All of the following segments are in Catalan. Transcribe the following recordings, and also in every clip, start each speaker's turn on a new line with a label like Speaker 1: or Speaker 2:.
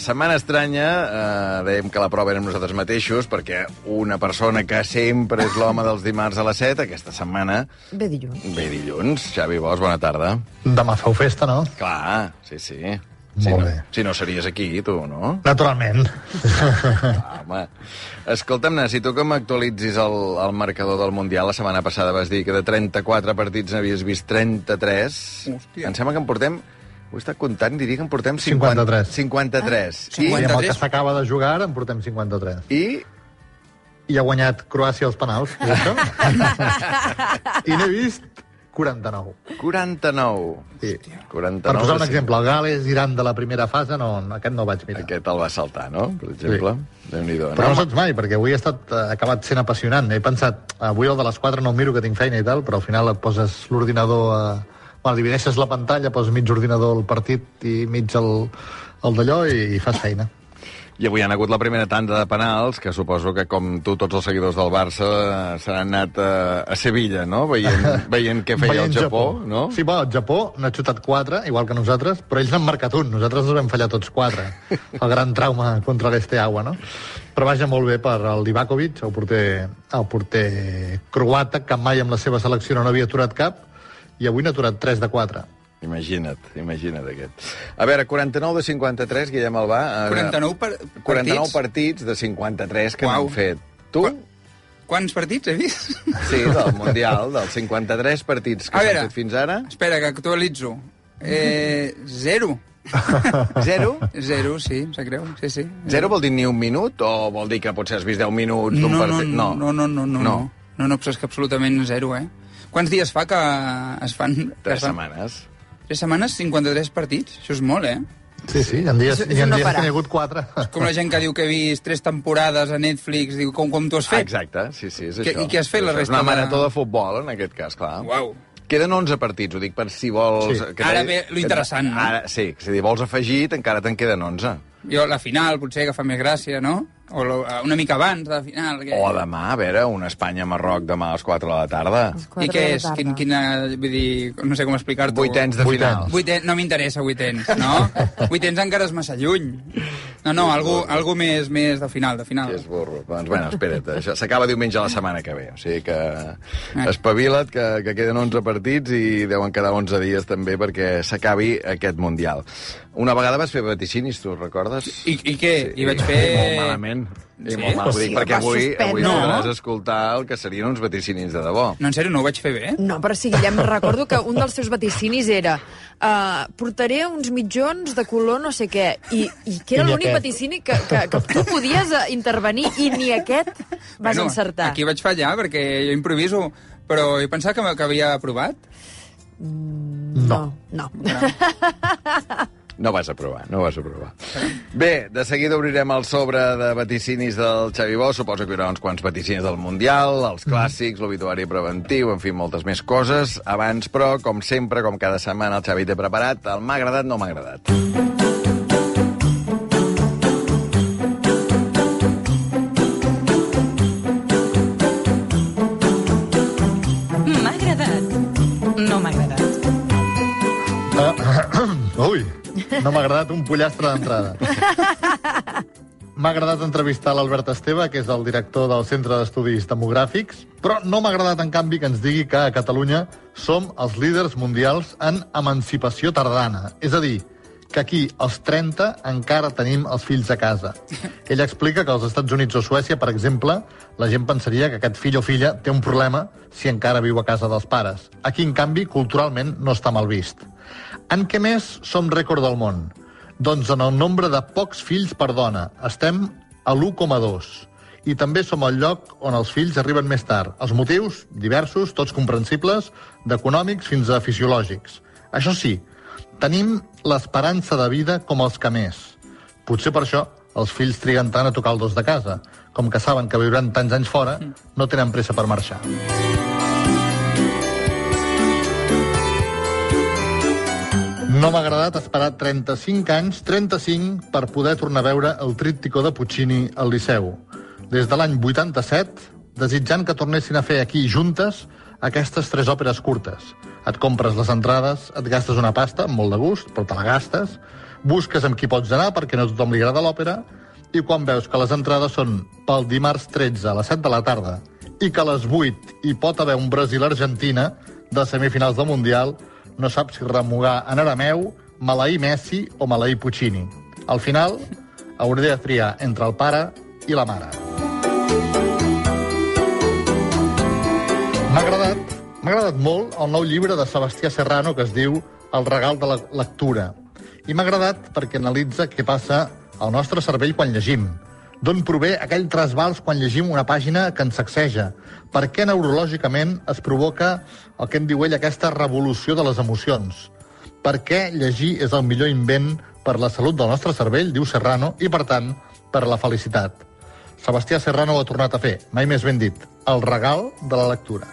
Speaker 1: Setmana estranya, eh, dèiem que la prova érem nosaltres mateixos, perquè una persona que sempre és l'home dels dimarts a les 7, aquesta setmana
Speaker 2: Bé dilluns.
Speaker 1: ve dilluns. Xavi Bosch, bona tarda.
Speaker 3: Demà feu festa, no?
Speaker 1: Clar, sí, sí.
Speaker 3: Molt
Speaker 1: si no,
Speaker 3: bé.
Speaker 1: Si no series aquí, tu, no?
Speaker 3: Naturalment.
Speaker 1: Ah, Home. Escolta'm, necessito que m'actualitzis el, el marcador del Mundial. La setmana passada vas dir que de 34 partits n'havies vist 33.
Speaker 4: Hòstia.
Speaker 1: Em sembla que en portem... Ho he estat comptant, diria que en portem 50,
Speaker 3: 53.
Speaker 1: 53.
Speaker 4: Ah,
Speaker 3: I amb el que
Speaker 4: 53.
Speaker 3: s'acaba de jugar ara en portem 53.
Speaker 1: I, I
Speaker 3: I ha guanyat Croàcia els penals, i això. I n'he vist 49.
Speaker 1: 49.
Speaker 3: Sí.
Speaker 1: 49.
Speaker 3: Per posar un
Speaker 1: sí.
Speaker 3: exemple, el Gales Iran de la primera fase, no, aquest no el vaig mirar.
Speaker 1: Aquest el va saltar, no? Per exemple. Sí. Déu-n'hi-do,
Speaker 3: Però no
Speaker 1: no?
Speaker 3: saps mai, perquè avui ha estat, eh, ha acabat sent apassionant. He pensat, avui el de les 4 no el miro, que tinc feina i tal, però al final et poses l'ordinador... A... Bueno, divideixes la pantalla, poses mig ordinador al partit i mig el, el d'allò i, i fas feina.
Speaker 1: I avui han hagut la primera tanda de penals, que suposo que, com tu, tots els seguidors del Barça eh, s'han anat a, a Sevilla, no? Veient, veient què feia
Speaker 3: Veient
Speaker 1: el Japó, no?
Speaker 3: Sí, bueno, el Japó n'ha xutat 4, igual que nosaltres, però ells n'han marcat un, nosaltres els vam fallar tots 4. El gran trauma contra l'Esteagua, no? Però vaja molt bé per al Divakovic, el porter, el porter croata, que mai amb la seva selecció no n'havia aturat cap, i avui n'ha aturat 3 de 4.
Speaker 1: Imagina't, imagina't aquest. A veure, 49 de 53, Guillem Albà. eh,
Speaker 4: 49 per-
Speaker 1: 49 partits de 53 que
Speaker 4: Uau.
Speaker 1: n'han fet. Tu?
Speaker 4: Qua- Quants partits he vist?
Speaker 1: Sí, del Mundial, dels 53 partits que
Speaker 4: A
Speaker 1: s'han
Speaker 4: veure.
Speaker 1: fet fins ara.
Speaker 4: Espera, que actualitzo. Eh, zero.
Speaker 1: Zero?
Speaker 4: Zero, sí, em sap greu. Sí, sí.
Speaker 1: Zero vol dir ni un minut o vol dir que potser has vist 10 minuts
Speaker 4: No,
Speaker 1: d'un
Speaker 4: no, no,
Speaker 1: partit?
Speaker 4: no, no, no, no, no,
Speaker 1: No.
Speaker 4: no, no, però és que absolutament zero, eh? Quants dies fa que es fan... que es
Speaker 1: Tres
Speaker 4: fan?
Speaker 1: setmanes.
Speaker 4: Tres setmanes, 53 partits. Això és molt, eh?
Speaker 3: Sí, sí, hi ha dies,
Speaker 2: Això-
Speaker 3: hi ha
Speaker 2: això no
Speaker 3: dies
Speaker 2: para.
Speaker 3: que n'hi ha hagut 4.
Speaker 4: Com la gent que diu que he vist tres temporades a Netflix, diu, com, com t'ho has fet?
Speaker 1: Exacte, sí, sí, és
Speaker 4: Què-
Speaker 1: això.
Speaker 4: i què has fet la
Speaker 1: És
Speaker 4: resta
Speaker 1: Una
Speaker 4: de-
Speaker 1: marató de futbol, en aquest cas, clar.
Speaker 4: Uau.
Speaker 1: Queden 11 partits, ho dic per si vols...
Speaker 3: Sí.
Speaker 1: t'ha-
Speaker 4: Ara ve lo interessant, no?
Speaker 1: Ara, sí, si dir, vols afegir, encara te'n queden 11.
Speaker 4: Jo, la final, potser, que fa més gràcia, no? O la- una mica abans de la final. Que...
Speaker 1: O demà, a veure, un Espanya-Marroc demà a les 4 de la tarda.
Speaker 4: I què és? Quin, quina, vull dir, no sé com explicar-t'ho.
Speaker 1: Vuitens de final.
Speaker 3: Vuitens.
Speaker 4: Vuitens, no m'interessa vuitens, no? vuitens encara és massa lluny. No, no, algú, algú més, més de final, de final.
Speaker 1: Que és burro. Doncs, bueno, espera't, això s'acaba diumenge la setmana que ve. O sigui que espavila't, que, que queden 11 partits i deuen quedar 11 dies també perquè s'acabi aquest Mundial. Una vegada vas fer vaticinis, tu, recordes?
Speaker 4: I, I què? I vaig fer...
Speaker 1: I molt malament. I
Speaker 4: Sí?
Speaker 1: molt mal,
Speaker 2: Sí,
Speaker 1: sí,
Speaker 2: el
Speaker 1: perquè
Speaker 2: vas
Speaker 1: avui, avui
Speaker 2: suspendre.
Speaker 4: No.
Speaker 1: podràs escoltar el que serien uns vaticinis de debò.
Speaker 4: No, en sèrio, no ho vaig fer bé?
Speaker 2: No, però sí, Guillem, recordo que un dels seus vaticinis era uh, portaré uns mitjons de color no sé què, i, i que
Speaker 3: I
Speaker 2: era
Speaker 3: ni
Speaker 2: l'únic
Speaker 3: aquest.
Speaker 2: vaticini que, que, que tu podies eh, intervenir i ni aquest vas
Speaker 4: Bueno,
Speaker 2: encertar.
Speaker 4: Aquí vaig fallar, perquè jo improviso, però jo pensava que, que havia aprovat.
Speaker 2: No, no.
Speaker 1: No vas aprovar, no vas aprovar. Bé, de seguida obrirem el sobre de vaticinis del Xavi Bosch. Suposo que hi haurà uns quants vaticinis del Mundial, els
Speaker 4: Mhm.
Speaker 1: clàssics, l'obituari preventiu, en fi, moltes més coses. Abans, però, com sempre, com cada setmana, el Xavi té preparat el m'ha agradat, no m'ha agradat.
Speaker 5: M'ha agradat. No m'ha agradat.
Speaker 3: Ui, no m'ha agradat un pollastre d'entrada. M'ha agradat entrevistar l'Albert Esteve, que és el director del Centre d'Estudis Demogràfics, però no m'ha agradat, en canvi, que ens digui que a Catalunya som els líders mundials en emancipació tardana. És a dir, que aquí, als 30, encara tenim els fills a casa. Ell explica que als Estats Units o Suècia, per exemple, la gent pensaria que aquest fill o filla té un problema si encara viu a casa dels pares. Aquí, en canvi, culturalment no està mal vist. En què més som rècord del món? Doncs en el nombre de pocs fills per dona. Estem a l'1,2. I també som el lloc on els fills arriben més tard. Els motius, diversos, tots comprensibles, d'econòmics fins a fisiològics. Això sí, tenim l'esperança de vida com els que més. Potser per això els fills triguen tant a tocar el dos de casa. Com que saben que viuran tants anys fora, no tenen pressa per marxar. No m'ha agradat esperar 35 anys, 35, per poder tornar a veure el tríptico de Puccini al Liceu. Des de l'any 87, desitjant que tornessin a fer aquí juntes aquestes tres òperes curtes. Et compres les entrades, et gastes una pasta, amb molt de gust, però te la gastes, busques amb qui pots anar, perquè no a tothom li agrada l'òpera, i quan veus que les entrades són pel dimarts 13 a les 7 de la tarda i que a les 8 hi pot haver un Brasil-Argentina de semifinals del Mundial, no saps si remugar en arameu, maleir Messi o maleir Puccini. Al final, hauré de triar entre el pare i la mare. M'ha agradat, m'ha agradat molt el nou llibre de Sebastià Serrano que es diu El regal de la lectura. I m'ha agradat perquè analitza què passa al nostre cervell quan llegim. D'on prové aquell trasbals quan llegim una pàgina que ens sacseja? Per què neurològicament es provoca el que en diu ell aquesta revolució de les emocions? Per què llegir és el millor invent per la salut del nostre cervell, diu Serrano, i per tant, per la felicitat. Sebastià Serrano ho ha tornat a fer, mai més ben dit, el regal de la lectura.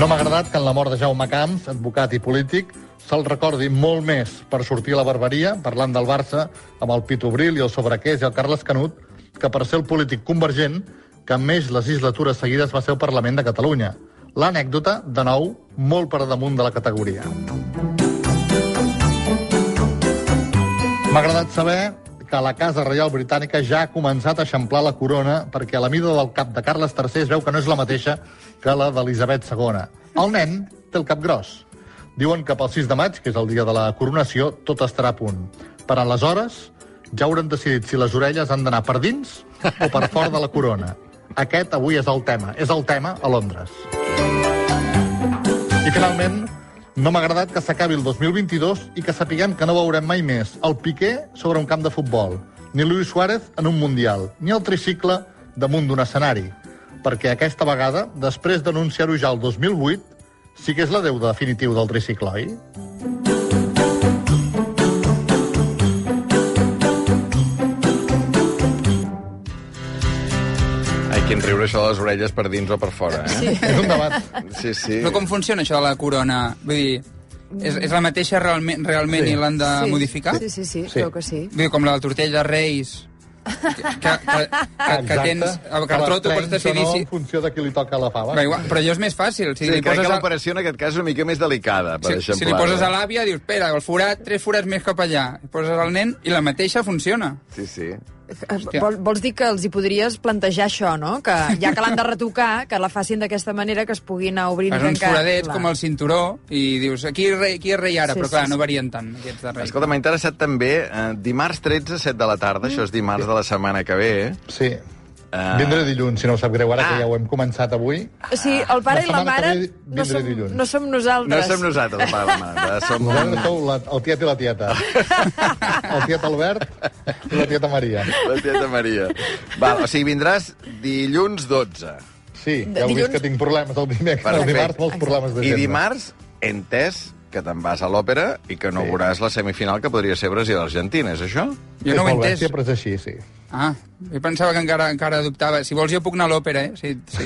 Speaker 3: No m'ha agradat que en la mort de Jaume Camps, advocat i polític, se'l recordi molt més per sortir a la barberia, parlant del Barça, amb el Pitu Bril i el Sobrequés i el Carles Canut, que per ser el polític convergent que amb més legislatures seguides va ser al Parlament de Catalunya. L'anècdota, de nou, molt per damunt de la categoria. M'ha agradat saber que la Casa Reial Britànica ja ha començat a eixamplar la corona perquè la mida del cap de Carles III es veu que no és la mateixa que la d'Elisabet II. El nen té el cap gros. Diuen que pel 6 de maig, que és el dia de la coronació, tot estarà a punt. Per aleshores ja hauran decidit si les orelles han d'anar per dins o per fora de la corona. Aquest avui és el tema. És el tema a Londres. I finalment, no m'ha agradat que s'acabi el 2022 i que sapiguem que no veurem mai més el Piqué sobre un camp de futbol, ni Luis Suárez en un Mundial, ni el tricicle damunt d'un escenari. Perquè aquesta vegada, després d'anunciar-ho ja el 2008, sí que és la deuda definitiu del tricicle, oi?
Speaker 1: Ai, quin riure, això de les orelles per dins o per fora, eh?
Speaker 3: És un debat.
Speaker 1: Sí, sí. sí.
Speaker 4: Però com funciona això de la corona? Vull dir, és, és la mateixa realment, realment sí. i l'han de
Speaker 2: sí.
Speaker 4: modificar?
Speaker 2: Sí, sí, sí,
Speaker 3: Sí.
Speaker 2: sí, creu que sí.
Speaker 4: Vull dir, com la del tortell de Reis, que, que, que, que, que tens... Que el trot ho pots decidir
Speaker 3: no,
Speaker 4: si...
Speaker 3: en funció de qui li toca la fava.
Speaker 4: Va, igual, però allò és més fàcil. Si
Speaker 1: Sí,
Speaker 4: li
Speaker 1: crec
Speaker 4: poses
Speaker 1: que eh.
Speaker 4: a-
Speaker 1: l'operació en aquest cas és una mica més delicada, per
Speaker 4: si,
Speaker 1: eixamplar.
Speaker 4: si li poses a l'àvia, dius, espera, el forat, tres forats més cap allà. I poses al nen i la mateixa funciona.
Speaker 1: Sí, sí.
Speaker 4: Hòstia.
Speaker 2: Eh, Vol, vols dir que els hi podries plantejar això, no? Que ja que l'han de retocar, que la facin d'aquesta manera que es pugui anar obrint... i
Speaker 4: Fas uns
Speaker 2: tancant.
Speaker 4: foradets
Speaker 2: Clar.
Speaker 4: com el cinturó i dius, aquí és rei, aquí és rei ara,
Speaker 2: Sí,
Speaker 4: però
Speaker 2: sí,
Speaker 4: clar,
Speaker 2: sí.
Speaker 4: no varien tant aquests de rei.
Speaker 1: Escolta, m'ha interessat també, eh, dimarts 13, 7 de la tarda, això és dimarts de la setmana que ve, eh?
Speaker 3: Sí.
Speaker 4: Ah.
Speaker 3: Vindré dilluns, si no us sap greu, ara
Speaker 1: Ah.
Speaker 3: que ja ho hem començat avui.
Speaker 2: O sigui, el pare i
Speaker 3: La
Speaker 2: la
Speaker 3: setmana
Speaker 2: mare
Speaker 3: que ve
Speaker 2: no
Speaker 3: vindré
Speaker 2: som,
Speaker 3: dilluns.
Speaker 2: no som nosaltres.
Speaker 1: No som nosaltres, el pare i la mare. Som...
Speaker 3: Nosaltres sou la, el tiet i la tieta. El tiet Albert i la tieta Maria.
Speaker 1: La tieta Maria. Va, o sigui, vindràs dilluns 12.
Speaker 3: Sí, ja heu
Speaker 2: Dilluns-
Speaker 3: vist que tinc problemes el dimecres. El
Speaker 1: Perfecte.
Speaker 3: dimarts, molts problemes de
Speaker 1: I
Speaker 3: gent.
Speaker 1: dimarts, entès que te'n vas a l'òpera i que no
Speaker 3: Sí.
Speaker 1: veuràs la semifinal que podria ser Brasil-Argentina, és això?
Speaker 4: Jo no ho he entès.
Speaker 3: Sempre és així, sí.
Speaker 4: Ah, jo pensava que encara, encara dubtava. Si vols jo puc anar a l'òpera, eh? Sí, sí.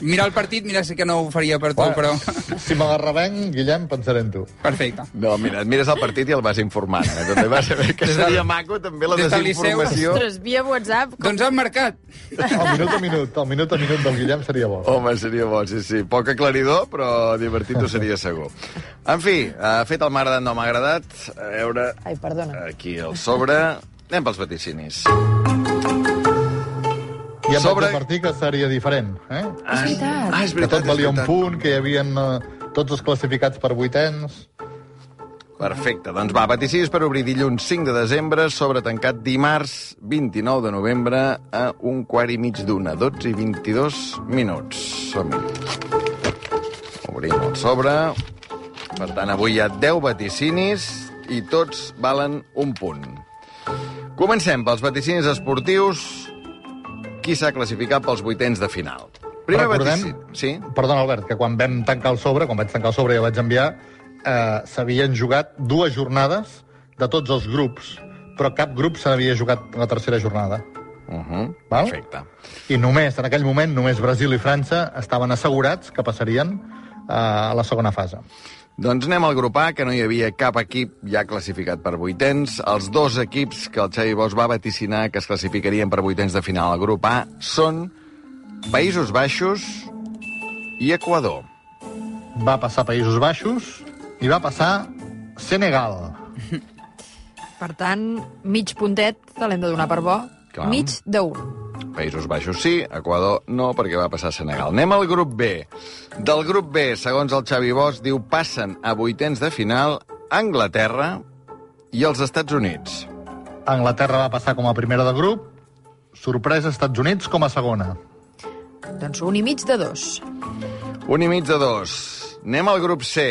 Speaker 4: Mira el partit, mira, sí que no ho faria
Speaker 1: Oh,
Speaker 4: per tu,
Speaker 3: Bueno,
Speaker 4: però...
Speaker 3: Si me la revenc, Guillem, pensaré en tu.
Speaker 4: Perfecte.
Speaker 1: No, mira, et mires el partit i el vas informant. Eh? També vas saber que
Speaker 4: Des del-
Speaker 1: seria maco, també la
Speaker 4: des del Liceu.
Speaker 1: desinformació.
Speaker 2: Ostres, via WhatsApp, com...
Speaker 4: Doncs han marcat.
Speaker 3: El minut a minut, el minut a minut del Guillem seria bo.
Speaker 1: Home, seria bo, sí, sí. Poc aclaridor, però divertit ho seria segur. En fi, ha fet el m'ha agradat, no m'ha agradat. A veure,
Speaker 2: Ai, perdona.
Speaker 1: aquí al sobre... Anem pels vaticinis.
Speaker 3: I
Speaker 1: Sobre-
Speaker 3: em sobre... vaig advertir que seria diferent, eh?
Speaker 1: És veritat. Ah, és
Speaker 3: Que
Speaker 1: veritat,
Speaker 3: tot valia
Speaker 1: és
Speaker 3: un
Speaker 1: veritat.
Speaker 3: punt, que hi havia eh, tots els classificats per vuitens...
Speaker 1: Perfecte, doncs va, vaticinis per obrir dilluns 5 de desembre, sobre tancat dimarts 29 de novembre a un quart i mig d'una, 12 i 22 minuts. Som-hi. Obrim el sobre. Per tant, avui hi ha 10 vaticinis i tots valen un punt. Comencem pels vaticinis esportius. Qui s'ha classificat pels vuitens de final?
Speaker 3: Recordem-
Speaker 1: vaticini- Sí?
Speaker 3: Perdona, Albert, que quan vam tancar el sobre, quan vaig tancar el sobre i el vaig enviar, eh, s'havien jugat dues jornades de tots els grups, però cap grup se n'havia jugat la tercera jornada.
Speaker 1: Uh -huh.
Speaker 3: Val?
Speaker 1: Perfecte.
Speaker 3: I només, en aquell moment, només Brasil i França estaven assegurats que passarien eh, a la segona fase.
Speaker 1: Doncs anem al grup A, que no hi havia cap equip ja classificat per vuitens. Els dos equips que el Xavi Bosch va vaticinar que es classificarien per vuitens de final al grup A són Països Baixos i Equador.
Speaker 3: Va passar Països Baixos i va passar Senegal.
Speaker 2: Per tant, mig puntet te l'hem de donar per bo.
Speaker 1: Clar.
Speaker 2: Mig d'un.
Speaker 1: Països Baixos sí, Equador no, perquè va passar a Senegal. Anem al grup B. Del grup B, segons el Xavi Bosch, diu passen a vuitens de final Anglaterra i els Estats Units.
Speaker 3: Anglaterra va passar com a primera de grup, sorpresa Estats Units com a segona.
Speaker 2: Doncs un i mig de dos.
Speaker 1: Un i mig de dos. Anem al grup C.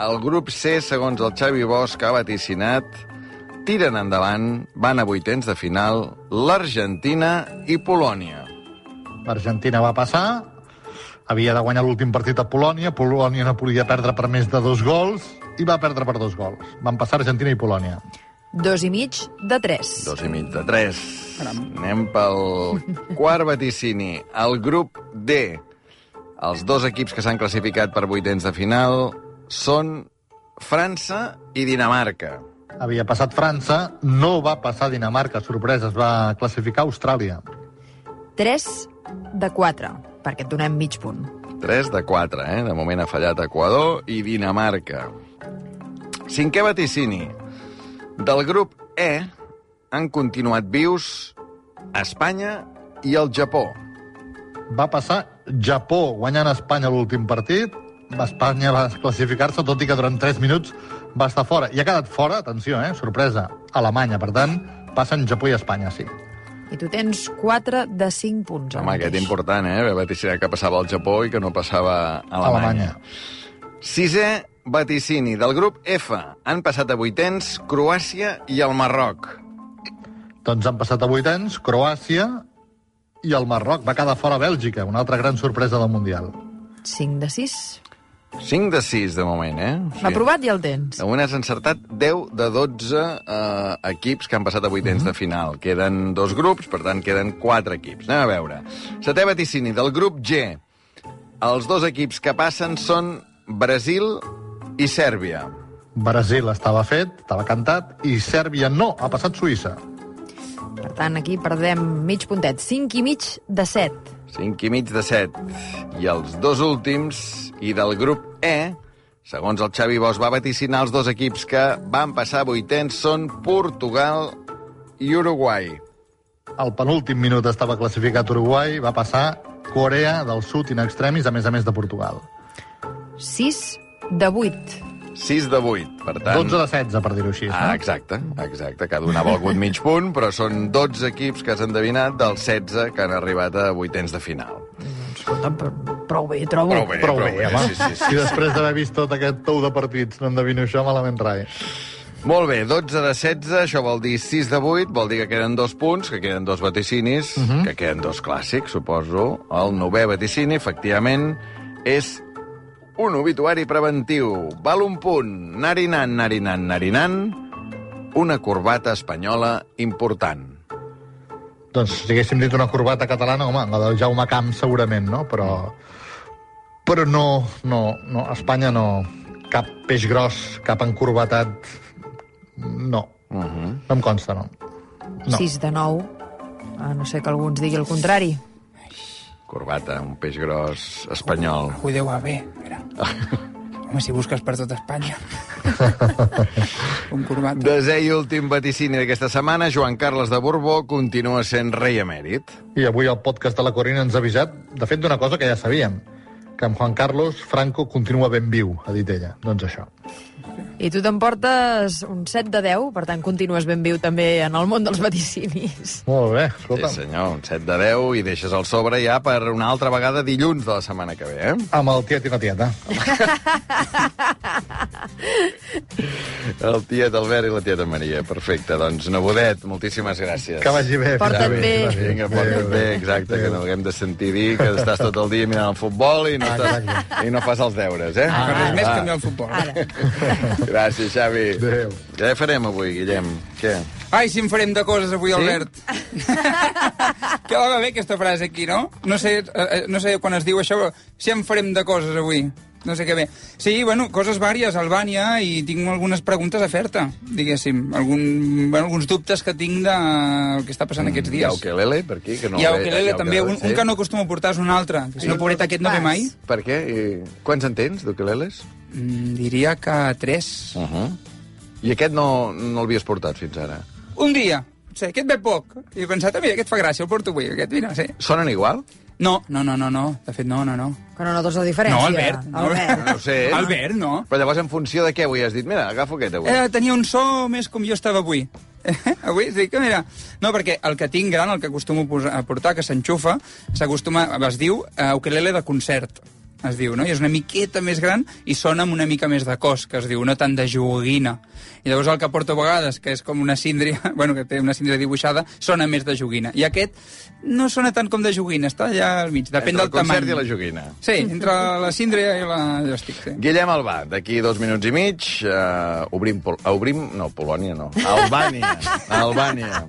Speaker 1: El grup C, segons el Xavi Bosch, ha vaticinat tiren endavant, van a vuitens de final l'Argentina i Polònia.
Speaker 3: L'Argentina va passar, havia de guanyar l'últim partit a Polònia, Polònia no podia perdre per més de dos gols, i va perdre per dos gols. Van passar Argentina i Polònia.
Speaker 2: Dos i mig de tres.
Speaker 1: Dos i mig de tres. Anem pel quart vaticini. El grup D. Els dos equips que s'han classificat per vuitens de final són França i Dinamarca.
Speaker 3: Havia passat França, no va passar Dinamarca, sorpresa, es va classificar Austràlia.
Speaker 2: Tres de quatre, perquè et donem mig punt.
Speaker 1: 3 de 4, eh? De moment ha fallat Equador i Dinamarca. Cinquè vaticini. Del grup E han continuat vius Espanya i el Japó.
Speaker 3: Va passar Japó, guanyant Espanya l'últim partit. Espanya va classificar-se, tot i que durant 3 minuts va estar fora. I ha quedat fora, atenció, eh? Sorpresa, Alemanya. Per tant, passen Japó i Espanya, sí.
Speaker 2: I tu tens quatre de cinc punts. ara
Speaker 1: Home, aquest
Speaker 2: mateix.
Speaker 1: important, eh? Haver vaticinat que passava al Japó i que no passava a Alemanya.
Speaker 3: Alemanya.
Speaker 1: Sisè vaticini del grup F. Han passat a vuitens Croàcia i el Marroc.
Speaker 3: Doncs han passat a 8 anys, Croàcia i el Marroc. Va quedar fora Bèlgica, una altra gran sorpresa del Mundial.
Speaker 2: Cinc de sis.
Speaker 1: 5 de 6, de moment, eh?
Speaker 2: L'ha provat i el tens.
Speaker 1: De moment has encertat 10 de 12 eh, equips que han passat a vuitens de final. Queden dos grups, per tant, queden 4 equips. Anem a veure. Setè vaticini del grup G. Els dos equips que passen són Brasil i Sèrbia.
Speaker 3: Brasil estava fet, estava cantat, i Sèrbia no, ha passat Suïssa.
Speaker 2: Per tant, aquí perdem mig puntet. Cinc i mig de set.
Speaker 1: 5 i mig de 7. I els dos últims, i del grup E, segons el Xavi Bosch va vaticinar els dos equips que van passar vuitens, són Portugal i Uruguai.
Speaker 3: Al penúltim minut estava classificat Uruguai, va passar Corea del Sud in extremis, a més a més de Portugal.
Speaker 2: Sis de vuit.
Speaker 1: 6 de 8, per tant...
Speaker 3: 12 de 16, per dir-ho així.
Speaker 1: Ah,
Speaker 3: no?
Speaker 1: exacte, exacte, que donava algun mig punt, però són 12 equips que has endevinat dels 16 que han arribat a vuitens de final.
Speaker 2: Escolta, pr- prou bé, trobo.
Speaker 1: Prou bé,
Speaker 3: Prou bé, eh, home.
Speaker 1: Sí, sí, sí.
Speaker 3: I després d'haver vist tot aquest tou de partits, no endevino això malament res.
Speaker 1: Molt bé, 12 de 16, això vol dir 6 de 8, vol dir que queden dos punts, que queden dos vaticinis, uh
Speaker 3: Mhm.
Speaker 1: -huh. que queden dos clàssics, suposo. El novè vaticini, efectivament, és un obituari preventiu. Val un punt, narinant, narinant, narinant, una corbata espanyola important.
Speaker 3: Doncs si haguéssim dit una corbata catalana, home, la del Jaume Camp segurament, no? Però, però no, no, no, a Espanya no. Cap peix gros, cap encorbatat, no. Uh
Speaker 1: Mhm.
Speaker 3: -huh. No em consta, no. No.
Speaker 2: Sis de nou. A no sé que algú ens digui el contrari.
Speaker 1: Corbata, un peix gros espanyol.
Speaker 4: Algú deu haver, mira. Home, si busques per tot Espanya. Un corbat.
Speaker 1: Desè i últim vaticini d'aquesta setmana, Joan Carles de Borbó continua sent rei emèrit.
Speaker 3: I avui el podcast de la Corina ens ha avisat, de fet, d'una cosa que ja sabíem, que amb Juan Carlos Franco continua ben viu, ha dit ella. Doncs això.
Speaker 2: I tu t'emportes un 7 de 10, per tant continues ben viu també en el món dels vaticinis.
Speaker 3: Molt bé,
Speaker 1: Sí,
Speaker 3: escolta.
Speaker 1: senyor, un set de 10 i deixes el sobre ja per una altra vegada dilluns de la setmana que ve, eh?
Speaker 3: Amb el tiet i la tieta.
Speaker 1: El tiet Albert i la tieta Maria. Perfecte, doncs, nebodet, moltíssimes gràcies.
Speaker 3: Que vagi bé.
Speaker 2: Porta't
Speaker 3: Xavi.
Speaker 2: bé.
Speaker 1: Vinga, porta't bé, exacte, que no haguem de sentir dir que estàs tot el dia mirant el futbol i no,
Speaker 3: Ah,
Speaker 1: estàs, i no fas els deures, eh?
Speaker 4: Però Ah, res més que el meu futbol.
Speaker 2: Ara.
Speaker 1: Gràcies, Xavi.
Speaker 3: Adéu.
Speaker 1: Què farem avui, Guillem? Què?
Speaker 4: Ai, si en farem de coses avui,
Speaker 1: Sí?
Speaker 4: sí? Albert. que va bé aquesta frase aquí, no? No sé, eh, eh, no sé quan es diu això, però si en farem de coses avui. No sé què bé. Sí, bueno, coses vàries, Albània, i tinc algunes preguntes a fer-te, diguéssim. Algun, bueno, alguns dubtes que tinc del que està passant aquests
Speaker 1: Mm, Hi ha
Speaker 4: dies.
Speaker 1: ukelele per aquí? Que no
Speaker 4: Hi ha
Speaker 1: el ve- hi
Speaker 4: ukelele,
Speaker 1: ha
Speaker 4: també. Un, un
Speaker 1: sí.
Speaker 4: que no acostumo a portar és un altre. que Si no, pobret, aquest no ve mai.
Speaker 1: Per què? I quants en tens, d'ukeleles?
Speaker 4: Mm, diria que tres.
Speaker 1: Uh -huh. I aquest no, no l'havies portat fins ara.
Speaker 4: Un dia. Sí, aquest ve poc. I he pensat, "Ah, mira, aquest fa gràcia, el porto avui. Aquest, mira, sí.
Speaker 1: Sonen igual?
Speaker 4: No, no, no, no, no. De fet, no, no, no.
Speaker 2: Que no notes la diferència.
Speaker 4: No, Albert, no.
Speaker 2: Albert.
Speaker 1: Ah, No ho sé.
Speaker 4: Albert, no.
Speaker 1: Però llavors, en funció de què avui has dit? Mira, agafo aquest avui.
Speaker 4: Eh, tenia un so més com jo estava avui. Eh, avui sí que mira... No, perquè el que tinc gran, el que acostumo a posar- a portar, que s'enxufa, s'acostuma, es diu, eh, ukelele de concert es diu, no? I és una miqueta més gran i sona amb una mica més de cos, que es diu, no tant de joguina. I llavors el que porto a vegades, que és com una síndria, bueno, que té una síndria dibuixada, sona més de joguina. I aquest no sona tant com de joguina, està allà al mig, depèn
Speaker 1: Entre
Speaker 4: del
Speaker 1: el concert
Speaker 4: tamany.
Speaker 1: i la joguina.
Speaker 4: Sí, entre la síndria i la... Jo estic, sí.
Speaker 1: Guillem Albà, d'aquí dos minuts i mig, eh, obrim, Pol... eh, obrim... No, Polònia no. Albània. Albània.